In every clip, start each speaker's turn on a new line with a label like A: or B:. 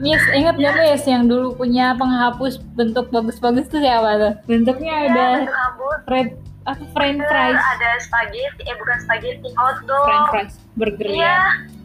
A: Yes, ingat nggak Miss yang dulu punya penghapus bentuk bagus-bagus tuh siapa tuh? Bentuknya ada
B: Ya, bentuk kabut.
A: red apa French
B: Terus
A: fries,
B: ada spaghetti, eh bukan spaghetti, hotdog.
A: French fries, burger
B: Iya.
A: ya.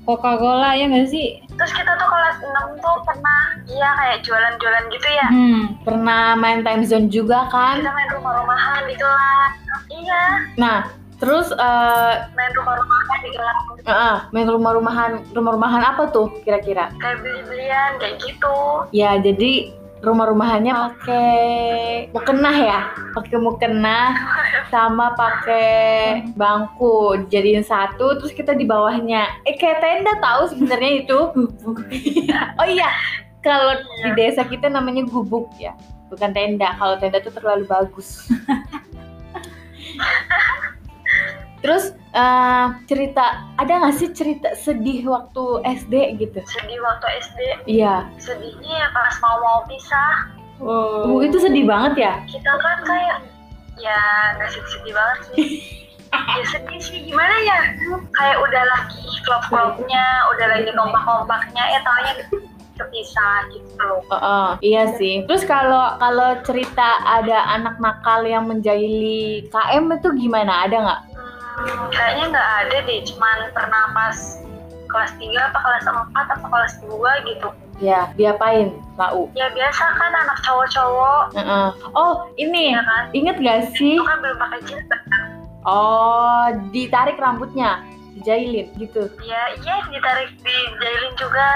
A: Coca-Cola ya nggak sih?
B: Terus kita tuh kelas 6 tuh pernah, iya kayak jualan-jualan gitu ya.
C: Hmm, pernah main time zone juga
B: Kita
C: kan?
B: main rumah-rumahan di kelas. Iya,
C: Nah, terus eh
B: main rumah-rumahan di kelas.
C: eh, main rumah-rumahan, rumah-rumahan apa tuh kira-kira?
B: Kayak beli-belian, kayak gitu.
C: Ya, jadi rumah-rumahannya pakai mukena ya, pakai mukena sama pakai bangku jadiin satu terus kita di bawahnya. Eh kayak tenda tahu sebenarnya itu. oh iya, kalau di desa kita namanya gubuk ya, bukan tenda. Kalau tenda tuh terlalu bagus. Terus eh, cerita ada nggak sih cerita sedih waktu SD gitu?
B: Sedih waktu SD,
C: Iya.
B: sedihnya ya pas mau mau pisah.
C: Oh, itu sedih banget ya.
B: Kita kan kayak, ya nggak sedih-sedih banget sih. ya sedih sih, gimana ya? Kayak udah lagi klop-klopnya, udah lagi kompak-kompaknya, eh taunya kepisah gitu loh.
C: Heeh, iya sih. Terus kalau kalau cerita ada anak nakal yang menjahili KM itu gimana? Ada nggak?
B: Hmm, kayaknya nggak ada deh, cuman pernah pas kelas 3 apa kelas 4 apa kelas 2 gitu.
C: Ya, diapain? Lau.
B: Ya biasa kan anak cowok-cowok,
C: Heeh. Oh, ini
B: ya kan?
C: inget gak sih?
B: Itu kan belum pakai jilbab.
C: Oh, ditarik rambutnya, dijahilin gitu.
B: Ya iya ditarik dijailin juga.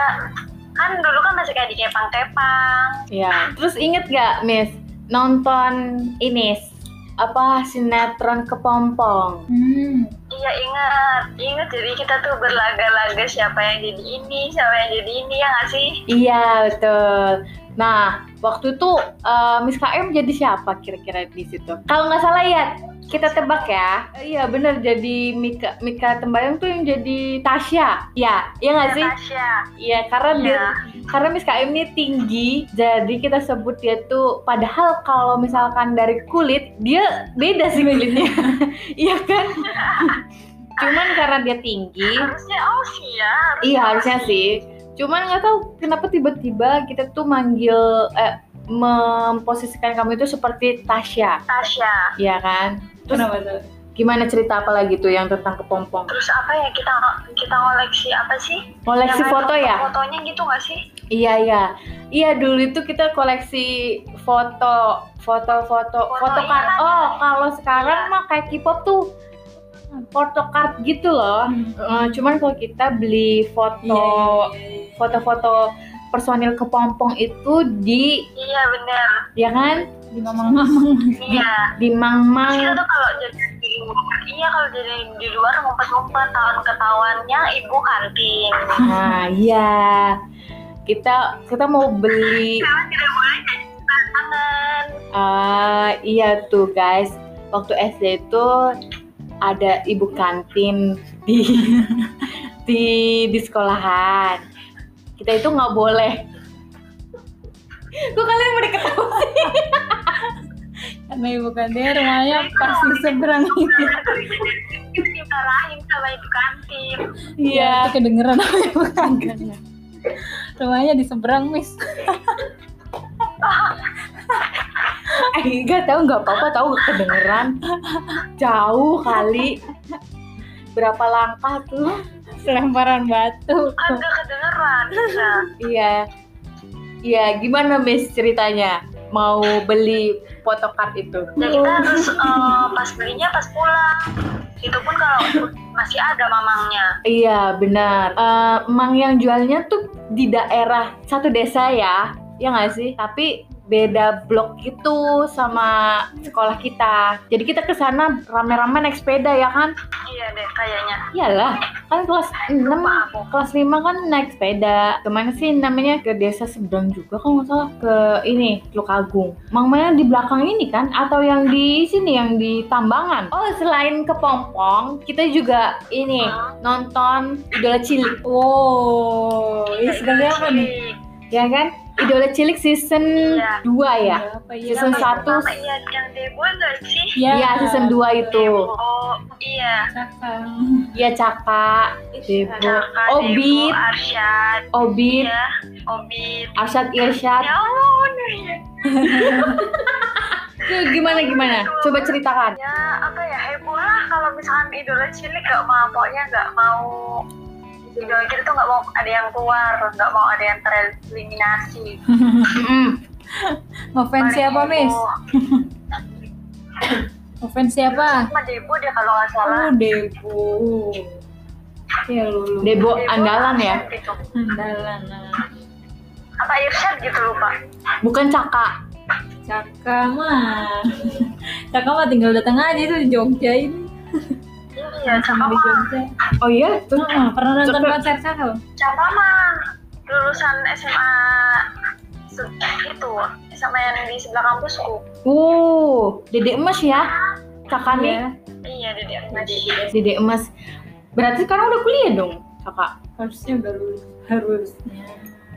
B: Kan dulu kan masih kayak di kepang-kepang.
C: Ya. Terus inget gak, Miss? Nonton ini apa sinetron kepompong?
A: Hmm.
B: Iya ingat, ingat jadi kita tuh berlaga-laga siapa yang jadi ini, siapa yang jadi ini ya nggak sih?
C: Iya betul. Nah waktu itu eh, Miss KM jadi siapa kira-kira di situ? Kalau nggak salah ya kita tebak ya. Eh, Iya bener jadi Mika Mika Tembayang tuh yang jadi Tasya. Iya iya nggak sih?
B: Natasha.
C: Iya karena dia
B: Iya.
C: karena Miss KM ini tinggi jadi kita sebut dia tuh padahal kalau misalkan dari kulit dia beda sih kulitnya. Iya kan? Cuman karena dia tinggi
B: Harusnya Aussie ya.
C: Iya harusnya sih. Cuman nggak tahu kenapa tiba-tiba kita tuh manggil eh, memposisikan kamu itu seperti Tasya,
B: Natasha.
C: ya kan? Terus
A: Kenapa tuh?
C: gimana cerita apa lagi tuh yang tentang kepompong?
B: Terus apa ya kita kita koleksi apa sih?
C: Koleksi
B: Yang ada
C: foto ya?
B: Fotonya gitu nggak sih?
C: Iya iya. Iya dulu itu kita koleksi foto, foto-foto,
B: Foto,
C: foto
B: iya
C: card.
B: kan?
C: Oh kalau sekarang
B: Iya.
C: mah kayak K-pop tuh foto card gitu loh.
B: Hmm.
C: Eh, cuman kalau kita
A: iya,
C: beli foto,
B: Iya,
C: foto-foto personil kepompong itu di
B: Iya bener.
C: ya kan
A: Di mamang-mamang.
B: Iya.
C: di Mang
B: Terus
A: Iya,
B: kita
C: Mang
B: tuh kalau jadi di luar, iya kalau jadi di luar ngumpet-ngumpet tahun ketahuannya ibu kantin.
C: nah iya kita kita mau beli
B: Karena tidak boleh jadi tangan.
C: ah iya tuh guys waktu SD itu ada ibu kantin di di di sekolahan kita itu nggak boleh kok kalian pada ketawa
A: Karena ibu kan dia rumahnya pasti seberang itu.
B: Dimarahin sama ibu kantin.
C: Iya.
A: Itu kedengeran apa ibu kantin. Rumahnya di seberang Miss.
C: Eh, nggak tahu nggak apa-apa tahu nggak kedengeran jauh kali berapa langkah tuh
A: Selemparan batu.
B: Kan gak kedengeran. Nah,
C: Iya. Iya, gimana Miss ceritanya? Mau beli photocard itu?
B: ya kita harus eh, pas belinya pas pulang. Itu pun kalau masih ada mamangnya.
C: Iya, benar. Eh, emang yang jualnya tuh di daerah satu desa ya. Ya nggak sih? Tapi beda blok gitu sama sekolah kita. Jadi kita ke sana rame-rame naik sepeda ya kan?
B: Iya deh kayaknya.
C: Iyalah, kan kelas 6
B: Lupa aku.
C: kelas 5 kan naik sepeda kemana sih namanya ke desa seberang juga kalau nggak salah ke ini Teluk Agung mangmanya di belakang ini kan atau yang di sini yang di Tambangan oh selain ke Pompong kita juga ini nonton idola cilik
B: gitu
C: Oh,
A: Wow, ini sebenarnya apa nih?
C: ya kan? Idola cilik season
B: Iya.
C: 2 ya?
A: Apa ya?
C: Season
B: Yang
C: satu.
B: pertama, Iya, yang demo nggak sih?
A: Ya,
C: Iya, season 2 itu.
B: Oh, iya.
A: Cakang.
C: Iya, Caka, Debo,
B: Kakak,
C: Obit,
B: Debo, Arsyad.
C: Obit,
B: Iya, Obit.
C: Oh, Arsyad Irsyad.
B: Ya ampun. iya.
C: Tuh, gimana gimana? Coba ceritakan.
B: Ya, apa ya, heboh lah kalau misalkan idola cilik nggak mau, pokoknya nggak mau idola kita tuh nggak mau ada yang keluar, nggak mau ada yang tereliminasi.
C: Mm-mm.
A: Ngefans
B: Paling
A: siapa, Miss?
B: heboh.
A: Ngefans siapa?
B: Sama Debo deh kalau nggak salah.
A: Oh, Debu. Ya lu. lu.
C: Debo
B: Debo,
C: andalan ya,
B: Arsyad Gitu.
A: Andalan. ah.
B: Apa Irsyad gitu lupa.
C: bukan Caka.
A: Cakang mah. Cakang mah tinggal datang aja itu di Jogja ini.
B: Iya,
A: Sama
B: sama
A: di Jogja.
C: Oh iya, tuh.
A: Heeh, pernah nonton
C: Cakang.
A: konser Cakang?
B: Siapa mah lulusan SMA se- itu sama yang di sebelah kampusku.
C: Wow, Dede Emas ya. Caka nih,
A: Iya.
B: Iya, Dede Ahmad.
C: Dede Emas. Berarti sekarang udah kuliah dong, Kakak.
A: Harusnya udah lulus. Harusnya.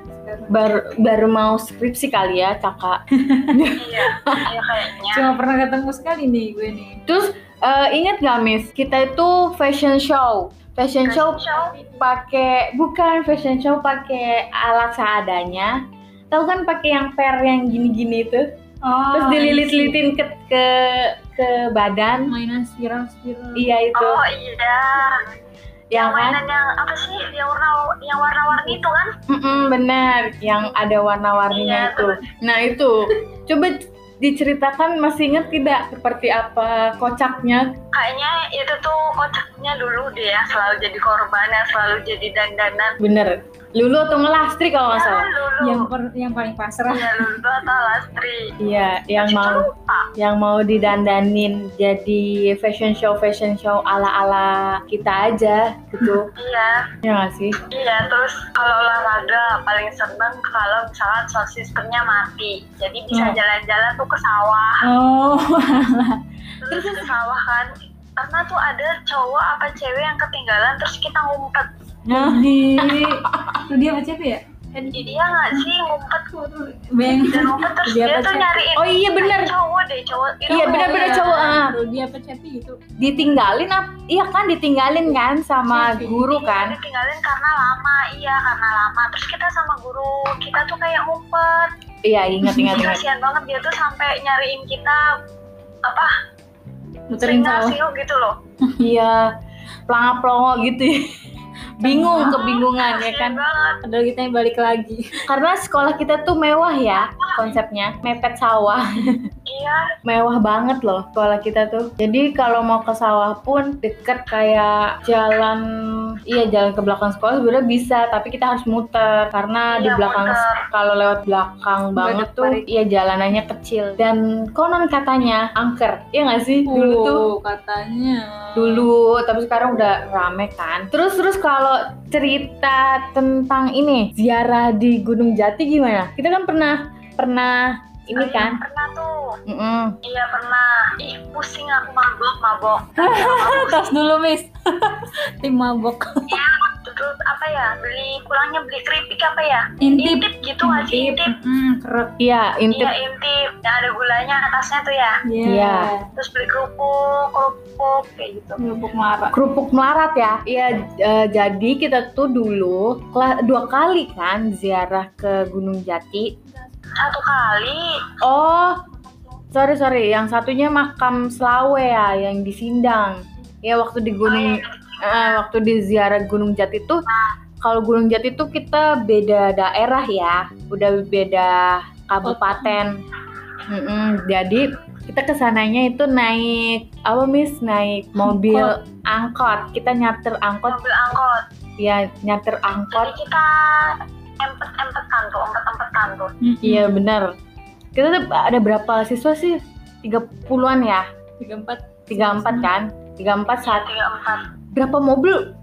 A: Sekarang.
C: Baru baru mau skripsi kali ya, Caka.
B: Iya, iya kayaknya.
A: Cuma pernah ketemu sekali nih gue nih.
C: Terus eh, ingat gak, Miss? Kita itu fashion show. Fashion show pakai bukan fashion show pakai alat seadanya. Tahu kan pakai yang per yang gini-gini itu.
A: Oh,
C: Terus dililit-lilitin ke ke ke badan.
A: Mainan spiral-spiral.
C: Iya itu.
B: Oh iya,
C: yang
B: yang
C: kan?
B: mainan yang apa sih? Yang warna yang warna-warni itu kan?
C: Mm-mm, benar, yang ada
B: Iya,
C: warna-warninya itu. Nah, itu. Coba diceritakan masih ingat tidak seperti apa kocaknya?
B: Kayaknya itu tuh kocaknya dulu deh ya, selalu jadi korban, yang selalu jadi dandanan.
C: Bener. Lulu atau ngelastri kalau nggak salah?
B: Ya, lulu.
A: Yang per- yang paling pasrah.
B: Iya, lulu atau lastri.
C: Iya, yang
B: Itu
C: mau
B: lupa.
C: yang mau didandanin jadi fashion show fashion show ala-ala kita aja gitu.
B: Iya,
C: ya nggak sih?
B: Iya, terus kalau olahraga paling seneng kalau misalkan sound systemnya mati. Jadi bisa
A: Hmm.
B: jalan-jalan tuh ke sawah.
A: Oh,
B: Terus ke sawah kan. Karena tuh ada cowok apa cewek yang ketinggalan terus kita ngumpet.
A: di itu dia apa siapa ya?
B: Jadi dia nggak sih ngumpet
A: Beng.
B: dan ngumpet terus
A: Dia
B: dia,
A: apa
B: tuh
A: sih?
B: nyariin.
C: Oh iya bener,
B: Cowok deh, cowok. Itu
C: Iya, bener-bener
A: Iya.
C: cowok, ah.
A: Dia apa Cepi gitu.
C: ditinggalin ap- iya kan ditinggalin kan sama
A: Iya,
C: guru kan?
B: ditinggalin karena lama, iya karena lama. Terus kita sama guru, kita tuh kayak ngumpet.
C: Iya ingat
B: Jadi
C: ingat ingat.
B: kasihan banget dia tuh sampai nyariin kita apa
A: Muterin
B: sinyal
A: sawah.
B: siu gitu loh.
C: Iya, pelangap pelongo gitu. ya. Bingung, kebingungan ya
B: Kasihan
C: kan.
B: banget.
A: Padahal kita yang balik lagi.
C: Karena sekolah kita tuh mewah ya konsepnya, mepet sawah.
B: Iya,
C: Mewah banget loh sekolah kita tuh. Jadi kalau mau ke sawah pun deket kayak jalan iya jalan ke belakang sekolah sebenarnya bisa, tapi kita harus muter karena di
B: Iya,
C: belakang
B: muter.
C: kalau lewat belakang banget tuh
A: parit.
C: iya jalanannya kecil dan konon katanya angker. Iya nggak sih dulu
B: Uh.
C: tuh?
A: Oh, katanya.
C: dulu tapi sekarang udah rame kan terus terus kalau cerita tentang ini ziarah di Gunung Jati gimana kita kan pernah pernah ini
B: Iya,
C: kan
B: Pernah tuh.
C: Mm-mm.
B: Iya pernah. Ih, pusing aku mabok, mabok.
A: Ah, Tas dulu, Miss. Tim mabok.
B: Iya, terus apa ya? Beli pulangnya beli keripik apa ya?
A: Intip.
B: gitu nggak sih? Intip.
A: Mm, kerek.
C: iya intip
B: Iya intip. Yang ada gulanya atasnya tuh ya.
A: Iya.
C: Iya.
B: Terus beli kerupuk, kerupuk kayak gitu.
A: Kerupuk marah.
C: kerupuk melarat ya iya eh, jadi kita tuh dulu kela- dua kali kan ziarah ke Gunung Jati
B: Satu kali.
C: oh sorry sorry yang satunya makam Selawe ya yang di Sindang ya waktu di Gunung Eh, waktu di ziarah Gunung Jati tuh kalau Gunung Jati tuh kita beda daerah ya, udah beda kabupaten. Mm-mm, jadi kita kesananya itu naik apa miss naik mobil angkot. Kita nyater angkot,
B: Mobil angkot.
C: ya nyater
B: Jadi
C: angkot.
B: kita empet-empetan tuh, empet-empetan tuh.
A: Hmm.
C: Iya benar. Kita tuh ada berapa siswa sih? 30-an ya?
A: Tiga empat.
C: 34 kan? 34 saat
B: Tiga empat.
C: berapa mobil?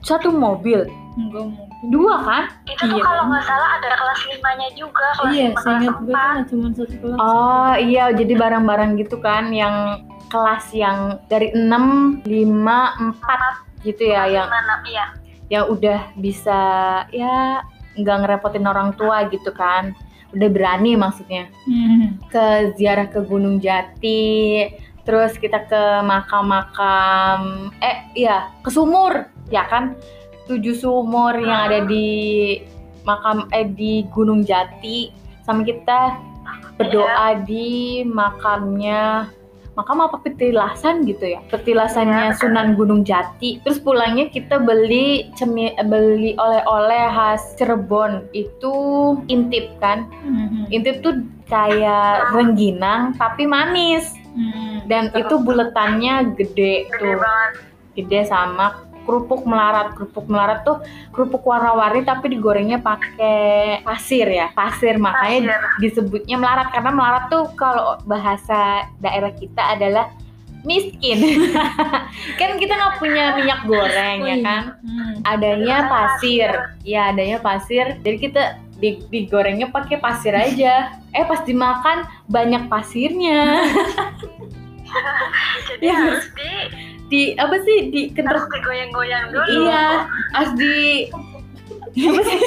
C: Satu mobil,
A: Enggak mungkin.
C: dua kan?
B: Itu tuh
A: Iya.
B: kalau nggak salah ada kelas limanya juga, kelas
A: Iya,
B: lima, kelas
A: seingat gue
B: empat.
A: kan cuma satu kelas.
C: Oh iya, jadi barang-barang gitu kan yang kelas yang dari 6, 5, 4 gitu ya yang
B: Gimana? Iya.
C: yang udah bisa ya nggak ngerepotin orang tua gitu kan udah berani maksudnya
A: Hmm.
C: ke ziarah ke Gunung Jati terus kita ke makam-makam eh iya ke sumur ya kan tujuh sumur yang ada di makam eh di Gunung Jati sama kita berdoa di makamnya makam apa petilasan gitu ya petilasannya
B: Iya.
C: Sunan Gunung Jati terus pulangnya kita beli cemi eh, beli oleh-oleh khas Cirebon itu intip kan
A: Hmm.
C: intip tuh kayak rengginang tapi manis
A: Hmm.
C: dan itu buletannya gede
B: gede
C: tuh
B: banget
C: gede sama kerupuk melarat kerupuk melarat tuh kerupuk warna-warni tapi digorengnya pakai pasir ya pasir makanya
B: pasir.
C: disebutnya melarat karena melarat tuh kalau bahasa daerah kita adalah miskin kan kita nggak punya minyak goreng ya kan
A: Hmm.
C: adanya pasir ya adanya pasir jadi kita di- digorengnya pakai pasir aja eh pas dimakan banyak pasirnya
B: Jadi
C: Iya.
B: harus di
C: di apa sih di
B: harus
C: kental
B: digoyang-goyang dulu.
C: iya harus di apa sih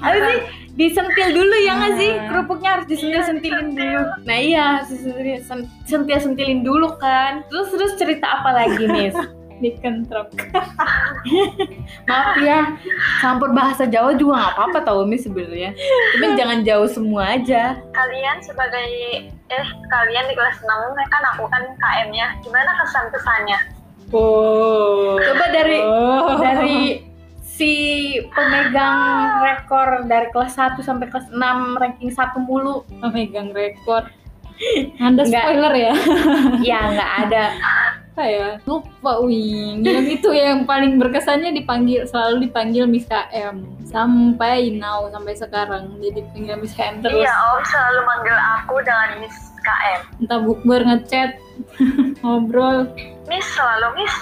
C: apa sih disentil dulu ya nggak sih
A: Hmm.
C: kerupuknya harus disentil sentilin dulu nah iya harus disentil sentil sentilin dulu kan terus terus cerita apa lagi Miss
A: dikentrok
C: maaf ya campur bahasa Jawa juga nggak apa-apa tau Miss sebenarnya tapi jangan jauh semua aja
B: Kalian sebagai eh kalian di kelas 6 kan aku kan KM-nya. Gimana kesan pesannya?
A: oh
C: Coba dari
A: Oh.
C: dari si pemegang rekor dari kelas 1 sampai kelas 6 ranking 1 mulu.
A: memegang rekor anda
C: Nggak.
A: spoiler ya
C: ya nggak ada.
A: apa ya lupa wing yang itu yang paling berkesannya dipanggil selalu dipanggil Miss KM sampai now sampai sekarang jadi panggil Miss KM terus
B: Iya, Om selalu manggil aku dengan Miss KM.
A: entah bukber ngechat ngobrol
B: Miss selalu Miss.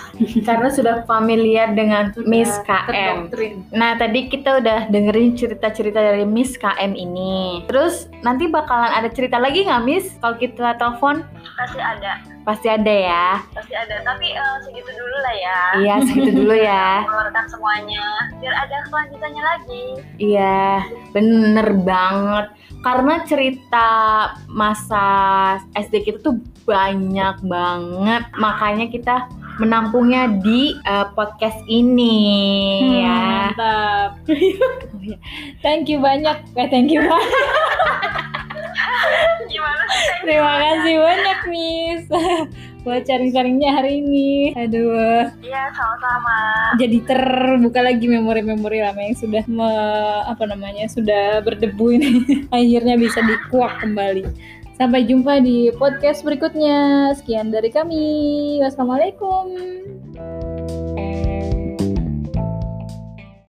C: Karena sudah familiar dengan Miss
A: Udah
C: KM.
A: terdoktrin.
C: Nah, tadi kita udah dengerin cerita-cerita dari Miss KM ini. Terus nanti bakalan ada cerita lagi nggak Miss? Kalau kita telepon
B: Pasti ada,
C: pasti ada ya.
B: pasti ada. Tapi eh, segitu dulu lah ya.
C: Iya, segitu dulu ya.
B: Mengeluarkan semuanya. Biar ada kelanjutannya lagi.
C: Iya, bener banget. Karena cerita masa SD kita tuh banyak banget, makanya kita menampungnya di eh, podcast ini
A: Hmm,
C: ya.
A: mantap Oh, iya. thank you banyak eh, thank you banyak
B: Gimana sih? Thank you
A: terima
B: banyak.
A: kasih banyak Miss buat sharing-sharingnya hari ini aduh
B: Iya, sama-sama.
A: jadi terbuka lagi memori-memori lama yang sudah me- apa namanya sudah berdebu ini akhirnya bisa dikuak kembali sampai jumpa di podcast berikutnya sekian dari kami wassalamualaikum